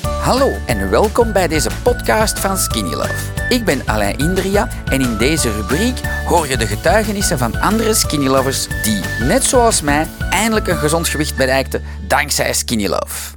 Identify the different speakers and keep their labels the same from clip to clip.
Speaker 1: Hallo en welkom bij deze podcast van Skinny Love. Ik ben Alain Indria en in deze rubriek hoor je de getuigenissen van andere Skinny Lovers die, net zoals mij, eindelijk een gezond gewicht bereikten dankzij Skinny Love.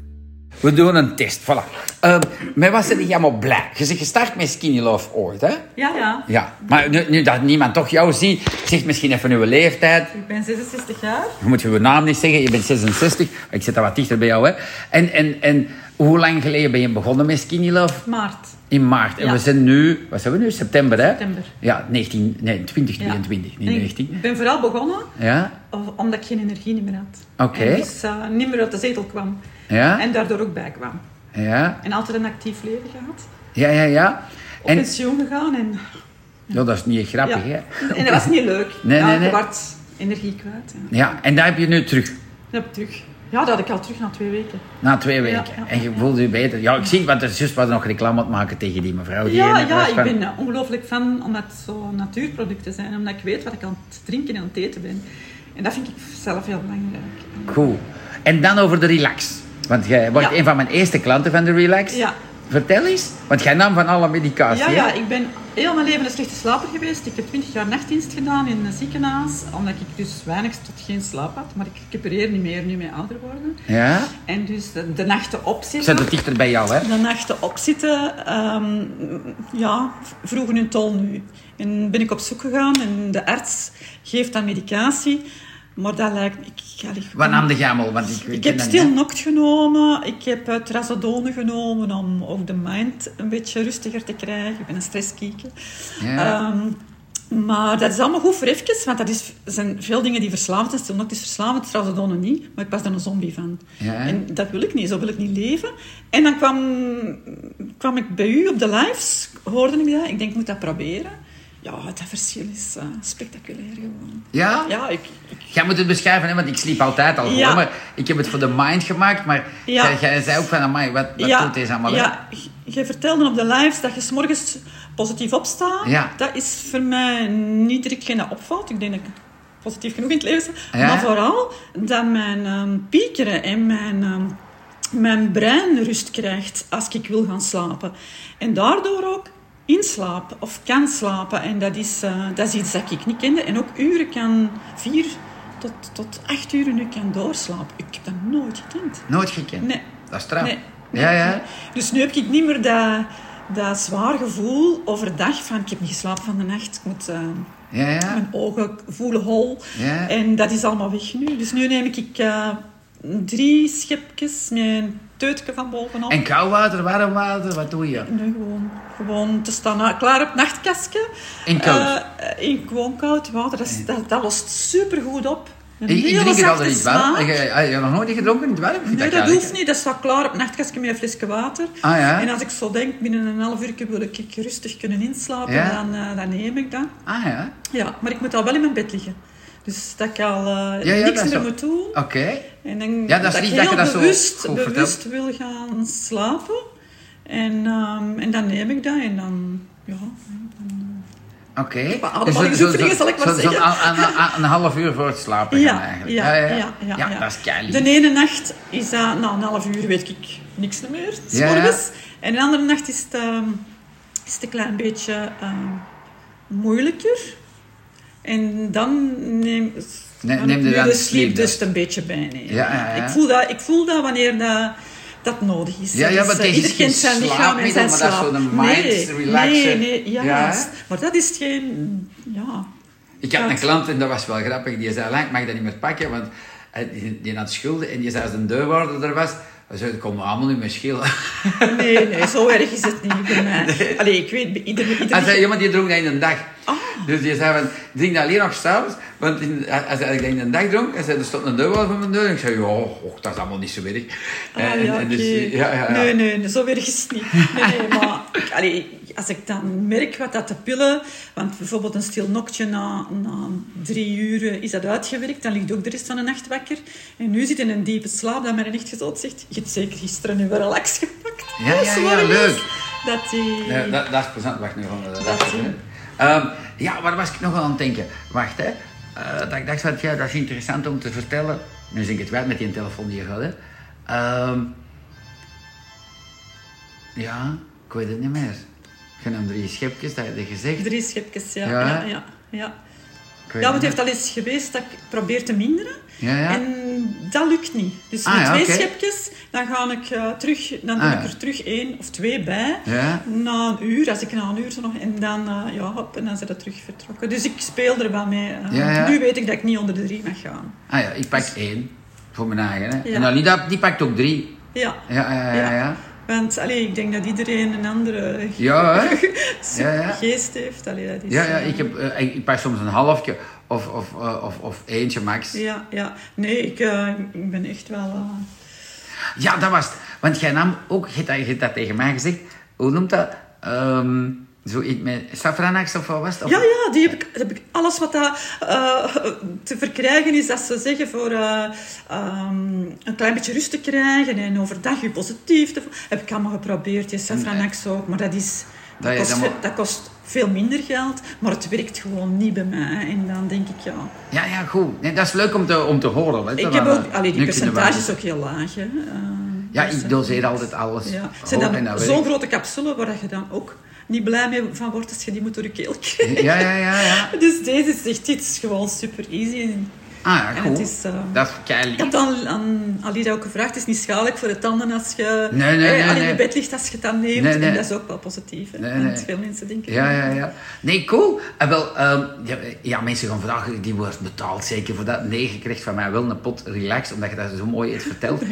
Speaker 1: We doen een test, voilà. Eh met wat zit je allemaal blij? Je bent gestart met Skinny Love ooit, hè?
Speaker 2: Ja, ja.
Speaker 1: Ja, maar nu, nu dat niemand toch jou ziet, zeg misschien even uw leeftijd.
Speaker 2: Ik ben 66 jaar.
Speaker 1: Je moet je naam niet zeggen, je bent 66. Ik zit daar wat dichter bij jou, hè. En, en, en hoe lang geleden ben je begonnen met Skinny Love?
Speaker 2: Maart.
Speaker 1: In maart. En
Speaker 2: Ja.
Speaker 1: we zijn nu, wat zijn we nu? September, hè?
Speaker 2: September.
Speaker 1: Ja, 19, nee, 2022,
Speaker 2: Ja.
Speaker 1: niet
Speaker 2: En
Speaker 1: 19.
Speaker 2: Ik ben vooral begonnen
Speaker 1: Ja?
Speaker 2: om- omdat ik geen energie meer had.
Speaker 1: Oké.
Speaker 2: En Dus eh, niet meer uit de zetel kwam.
Speaker 1: Ja?
Speaker 2: En daardoor ook bij kwam.
Speaker 1: Ja?
Speaker 2: En altijd een actief leven gehad.
Speaker 1: Ja, ja, ja.
Speaker 2: Op
Speaker 1: En,
Speaker 2: pensioen gegaan. En,
Speaker 1: ja, dat is niet echt grappig,
Speaker 2: ja.
Speaker 1: hè?
Speaker 2: en dat was niet leuk.
Speaker 1: Nee,
Speaker 2: ja,
Speaker 1: nee, nee.
Speaker 2: Je werd energie kwijt. Ja.
Speaker 1: Ja, en daar heb je nu terug.
Speaker 2: Dat heb ik terug. Ja, dat had ik al terug na twee weken.
Speaker 1: Na twee
Speaker 2: Ja,
Speaker 1: weken.
Speaker 2: ja.
Speaker 1: En je voelde je beter. Ja, ik zie, want er zus was nog reclame aan het maken tegen die mevrouw. Die
Speaker 2: Ja,
Speaker 1: ene was
Speaker 2: ja ik
Speaker 1: van-
Speaker 2: ben eh, ongelooflijk fan omdat het zo natuurproducten zijn. Omdat ik weet wat ik aan het drinken en aan het eten ben. En dat vind ik zelf heel belangrijk.
Speaker 1: Goed. En dan over de relax. Want jij wordt
Speaker 2: Ja.
Speaker 1: een van mijn eerste klanten van de relax.
Speaker 2: Ja.
Speaker 1: Vertel eens. Want jij nam van alle medicatie,
Speaker 2: Ja,
Speaker 1: hè?
Speaker 2: ja, ik ben heel mijn leven een slechte slaper geweest. Ik heb 20 jaar nachtdienst gedaan in een ziekenhuis, omdat ik dus weinig tot geen slaap had. Maar ik recupereer niet meer nu met ouder worden.
Speaker 1: Ja?
Speaker 2: En dus de, de nachten
Speaker 1: Ik zet
Speaker 2: opzitten.
Speaker 1: het dichter bij jou, hè?
Speaker 2: De nachten opzitten, ehm, ja, v- vroegen hun tol nu. En ben ik op zoek gegaan en de arts geeft dan medicatie. Maar dat lijkt me... Ik, allee,
Speaker 1: Wat nam de gamel? Want ik,
Speaker 2: ik
Speaker 1: ken
Speaker 2: heb
Speaker 1: dat niet, hè.
Speaker 2: stilnoct genomen, ik heb eh, trazodone genomen om ook de mind een beetje rustiger te krijgen. Ik ben een stresskieker.
Speaker 1: Ja.
Speaker 2: Ehm, maar dat is allemaal goed voor even, want dat is, zijn veel dingen die verslavend zijn. Stilnoct is verslavend, trazodone niet, maar ik was daar een zombie van.
Speaker 1: Ja.
Speaker 2: En dat wil ik niet, zo wil ik niet leven. En dan kwam, kwam ik bij u op de lives, hoorde ik dat. Ik denk, ik moet dat proberen. Ja, dat verschil is eh, spectaculair gewoon.
Speaker 1: Ja?
Speaker 2: Ja, ik,
Speaker 1: Jij moet het beschrijven, hè, want ik sliep altijd al.
Speaker 2: Ja.
Speaker 1: Hoor, maar ik heb het voor de mind gemaakt, maar
Speaker 2: Ja.
Speaker 1: jij, jij zei ook van, amai, wat, wat doet deze allemaal? hè?
Speaker 2: Ja, je vertelde op de lives dat je 's morgens positief opstaat.
Speaker 1: Ja.
Speaker 2: Dat is voor mij niet dat ik geen opvalt. Ik denk dat ik positief genoeg in het leven sta.
Speaker 1: Ja.
Speaker 2: Maar vooral dat mijn ehm, piekeren en mijn, ehm, mijn brein rust krijgt als ik wil gaan slapen. En daardoor ook inslaap of kan slapen. En dat is, eh, dat is iets dat ik niet kende. En ook uren kan, vier tot, tot acht uren nu kan doorslapen. Ik heb dat nooit gekend.
Speaker 1: Nooit gekend?
Speaker 2: Nee.
Speaker 1: Dat is straf.
Speaker 2: Nee, nee,
Speaker 1: ja, ja.
Speaker 2: nee. Dus nu heb ik niet meer dat, dat zwaar gevoel overdag van ik heb niet geslapen van de nacht. Ik moet eh,
Speaker 1: Ja, ja.
Speaker 2: mijn ogen voelen hol.
Speaker 1: Ja.
Speaker 2: En dat is allemaal weg nu. Dus nu neem ik eh, drie schepjes met een teutje van bovenop.
Speaker 1: En koud water, warm water, wat doe je?
Speaker 2: Nu gewoon, gewoon te staan na- klaar op het nachtkastje.
Speaker 1: In koud?
Speaker 2: Eh, eh, in gewoon koud water. Dat, is, dat, dat lost supergoed op. Een
Speaker 1: Ik, ik
Speaker 2: hele
Speaker 1: drink het
Speaker 2: zachte
Speaker 1: altijd niet warm.
Speaker 2: smaak.
Speaker 1: Ik, eh, heb je nog nooit gedronken in het warm? Ik vind
Speaker 2: Nee,
Speaker 1: dat
Speaker 2: dat
Speaker 1: lekker.
Speaker 2: hoeft niet. Dat staat klaar op een nachtkastje met een flesje water.
Speaker 1: Ah, ja?
Speaker 2: En als ik zo denk, binnen een half uur wil ik rustig kunnen inslapen,
Speaker 1: Ja?
Speaker 2: dan, eh, dan neem ik dat.
Speaker 1: Ah ja,
Speaker 2: Ja, maar ik moet al wel in mijn bed liggen. Dus dat ik al eh,
Speaker 1: Ja, ja, dat is
Speaker 2: niks meer
Speaker 1: zo.
Speaker 2: moet doen.
Speaker 1: oké.
Speaker 2: En dan,
Speaker 1: Ja, dat is
Speaker 2: ik
Speaker 1: lief dat je
Speaker 2: heel
Speaker 1: dat zo
Speaker 2: bewust,
Speaker 1: goed vertelt.
Speaker 2: bewust wil gaan slapen. En, ehm, en dan neem ik dat en dan... Ja,
Speaker 1: Oké. Dus
Speaker 2: Maar ademhalingsoefeningen, zal ik maar
Speaker 1: zo- zo'n
Speaker 2: zeggen.
Speaker 1: a- a- a- een half uur voor het slapen gaan eigenlijk.
Speaker 2: ja, ja.
Speaker 1: dat is keilief.
Speaker 2: De ene nacht is dat, na een half uur weet ik niks meer, 's
Speaker 1: Ja, ja.
Speaker 2: morgens. En de andere nacht is het, ehm, is het een klein beetje ehm, moeilijker. En dan neem,
Speaker 1: Ne-
Speaker 2: dan
Speaker 1: neem je
Speaker 2: doe
Speaker 1: dan
Speaker 2: de
Speaker 1: de
Speaker 2: sleep
Speaker 1: sleepdust.
Speaker 2: dus een beetje bij. nee.
Speaker 1: Ja, ja, ja.
Speaker 2: Ik, voel dat, ik voel dat wanneer dat, dat nodig is.
Speaker 1: Ja, ja,
Speaker 2: Dus,
Speaker 1: maar
Speaker 2: eh,
Speaker 1: het is
Speaker 2: ieder
Speaker 1: geen
Speaker 2: kind zijn lichaam en
Speaker 1: slaapmiddel,
Speaker 2: zijn
Speaker 1: maar dat is
Speaker 2: slaap.
Speaker 1: zo'n
Speaker 2: nee,
Speaker 1: mind relaxer.
Speaker 2: Nee, nee,
Speaker 1: Ja,
Speaker 2: juist.
Speaker 1: hè?
Speaker 2: Maar dat is geen... Ja,
Speaker 1: Ik had een
Speaker 2: Gaat.
Speaker 1: klant en dat was wel grappig. Die zei, "Lang, ik mag dat niet meer pakken, want eh, die, die had schulden. En die zei, als een deurwaarder er was, dan zei ik, kom allemaal niet meer schelen.
Speaker 2: Nee, nee, zo erg is het niet voor mij. Allee, ik weet, ieder... ieder
Speaker 1: Hij zei, ja, maar die dronk dat in een dag.
Speaker 2: Ah.
Speaker 1: Dus die zei, van, drink dat alleen nog s'avonds. Want in, eh, als hij dat in een dag dronk, hij zei, er stond een deurwaarder voor mijn deur. En ik zei, ja, och, dat is allemaal niet zo erg.
Speaker 2: Ah,
Speaker 1: En- en-
Speaker 2: ja,
Speaker 1: en dus,
Speaker 2: oké.
Speaker 1: ja, ja, ja.
Speaker 2: Nee, nee, nee, zo erg is het niet. Nee, nee, maar ik- allee, als ik dan merk wat dat de pillen... Want bijvoorbeeld een stil noktje na, na drie uur eh, is dat uitgewerkt. Dan ligt ook de rest van de nacht wakker. En nu zit in een diepe slaap dat mijn echtgenoot zegt... Je hebt zeker gisteren nu wel relax gepakt.
Speaker 1: Ja, ja, ja,
Speaker 2: Zo erg is
Speaker 1: leuk.
Speaker 2: Dat die...
Speaker 1: Ja, dat, dat is plezant. Wacht nu gewoon. Dat, dat
Speaker 2: Dat
Speaker 1: is
Speaker 2: is-
Speaker 1: plezant. Ehm, ja, waar was ik nog wel aan het denken? Wacht, hè. Eh, dat ik dacht van, ja, dat is interessant om te vertellen. Nu zing ik het wel met die telefoon die je had, hè. Ehm, Ja, ik weet het niet meer. Je nam drie schepjes, dat heb je gezegd.
Speaker 2: Drie schepjes, ja.
Speaker 1: Ja,
Speaker 2: Ja,
Speaker 1: hè?
Speaker 2: ja, ja, ja.
Speaker 1: Ik weet
Speaker 2: want het heeft
Speaker 1: niet
Speaker 2: al eens geweest dat ik probeer te minderen.
Speaker 1: meer. Ja, ja.
Speaker 2: En dat lukt niet. Dus
Speaker 1: Ah,
Speaker 2: met
Speaker 1: ja,
Speaker 2: twee
Speaker 1: oké.
Speaker 2: schepjes, dan, ga ik, eh, terug, dan doe
Speaker 1: Ah,
Speaker 2: ik
Speaker 1: ja.
Speaker 2: er terug één of twee bij.
Speaker 1: Ja.
Speaker 2: Na een uur, als ik na een uur zo nog... En dan, eh, ja, hop, en dan zijn ze terug vertrokken. Dus ik speel er wel mee. eh.
Speaker 1: Ja, ja.
Speaker 2: Nu weet ik dat ik niet onder de drie mag gaan.
Speaker 1: Ah ja, ik pak één. Voor mijn eigen, hè.
Speaker 2: Ja.
Speaker 1: En Alida, die pakt ook drie.
Speaker 2: Ja.
Speaker 1: Ja, ja, ja, ja. Ja,
Speaker 2: Want allee, ik denk dat iedereen een andere
Speaker 1: ja hè?
Speaker 2: super
Speaker 1: Ja, ja.
Speaker 2: geest heeft. Allee, dat is,
Speaker 1: Ja, ja,
Speaker 2: eh,
Speaker 1: ik, heb, eh, ik, ik pak soms een halfje of, of, eh, of, of eentje max.
Speaker 2: Ja, ja. Nee, ik, eh, ik ben echt wel... eh,
Speaker 1: Ja, dat was het. Want jij nam ook, je hebt dat, je hebt dat tegen mij gezegd, hoe noemt dat? Ehm zo iets met safranax of wat was het? Of-
Speaker 2: Ja, ja, die heb ik, heb ik alles wat daar eh, te verkrijgen is, dat ze zeggen, voor eh, ehm, een klein beetje rust te krijgen en overdag je positief te vo- Heb ik allemaal geprobeerd, die Safranax ook, maar dat is...
Speaker 1: Dat
Speaker 2: Dat,
Speaker 1: je
Speaker 2: kost,
Speaker 1: dan
Speaker 2: ve-
Speaker 1: maar-
Speaker 2: dat kost veel minder geld, maar het werkt gewoon niet bij mij. En dan denk ik, ja...
Speaker 1: ja, ja, goed. Nee, dat is leuk om te, om te horen. Weet,
Speaker 2: Ik
Speaker 1: want,
Speaker 2: heb
Speaker 1: eh,
Speaker 2: ook... Allee, die
Speaker 1: nu kunnen we-
Speaker 2: percentage is ook heel laag, hè. Eh,
Speaker 1: Ja,
Speaker 2: dus,
Speaker 1: ik
Speaker 2: eh,
Speaker 1: doseer altijd alles.
Speaker 2: Ja.
Speaker 1: hoog
Speaker 2: Zijn
Speaker 1: en
Speaker 2: dan
Speaker 1: dat
Speaker 2: zo'n
Speaker 1: werkt.
Speaker 2: grote capsule waar je dan ook niet blij mee van wordt als je die moet door je keel krijgt.
Speaker 1: Ja, ja, ja, ja.
Speaker 2: Dus deze is echt dit is gewoon super easy. En
Speaker 1: Ah, ja,
Speaker 2: En
Speaker 1: goed.
Speaker 2: het is, eh,
Speaker 1: dat is keilief.
Speaker 2: ik heb dan aan Alida ook gevraagd, het is niet schadelijk voor de tanden als je
Speaker 1: Nee, nee,
Speaker 2: eh,
Speaker 1: nee,
Speaker 2: al in
Speaker 1: nee.
Speaker 2: je bed ligt als je het dan neemt.
Speaker 1: Nee, nee.
Speaker 2: En dat is ook wel positief. hè.
Speaker 1: Nee,
Speaker 2: Want
Speaker 1: nee.
Speaker 2: veel mensen denken...
Speaker 1: Ja, ja, ja. Nee, cool. En wel, ehm, ja, ja, mensen gaan vragen, die wordt betaald zeker voor dat. Nee, je krijgt van mij wel een pot relax, omdat je dat zo mooi hebt verteld. Eh,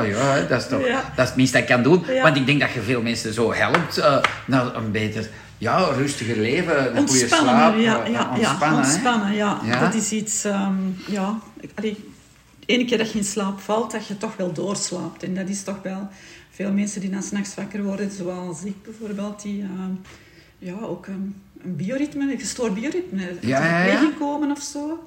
Speaker 1: oh ja, hè, dat is toch
Speaker 2: Ja.
Speaker 1: dat is het minste dat ik kan doen.
Speaker 2: Ja.
Speaker 1: Want ik denk dat je veel mensen zo helpt eh, naar een beter, ja, rustiger leven, een goede
Speaker 2: Ontspannen,
Speaker 1: slaap.
Speaker 2: ja,
Speaker 1: eh,
Speaker 2: ja,
Speaker 1: ontspannen,
Speaker 2: ja,
Speaker 1: hè.
Speaker 2: ontspannen ja.
Speaker 1: Ja.
Speaker 2: Dat is iets, ehm, ja, ik- allee, de ene keer dat je in slaap valt, dat je toch wel doorslaapt. En dat is toch wel veel mensen die dan s'nachts wakker worden, zoals ik bijvoorbeeld, die ehm, ja, ook ehm, een bioritme, een gestoord bioritme,
Speaker 1: Ja,
Speaker 2: tot
Speaker 1: ja, ja.
Speaker 2: tegenkomen of zo.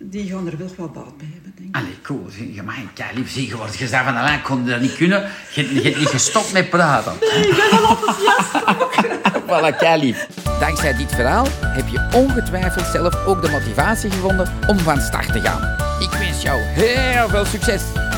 Speaker 2: Die gaan er wel wat baat bij hebben, denk ik.
Speaker 1: Allee, cool. Je mag een keilief zien geworden. Je zei van, "Alain, ik kon dat niet kunnen. Je hebt- je hebt niet gestopt met praten.
Speaker 2: Ik ben wel enthousiast.
Speaker 1: Voilà, keilief. Dankzij dit verhaal heb je ongetwijfeld zelf ook de motivatie gevonden om van start te gaan. Ik wens jou heel veel succes.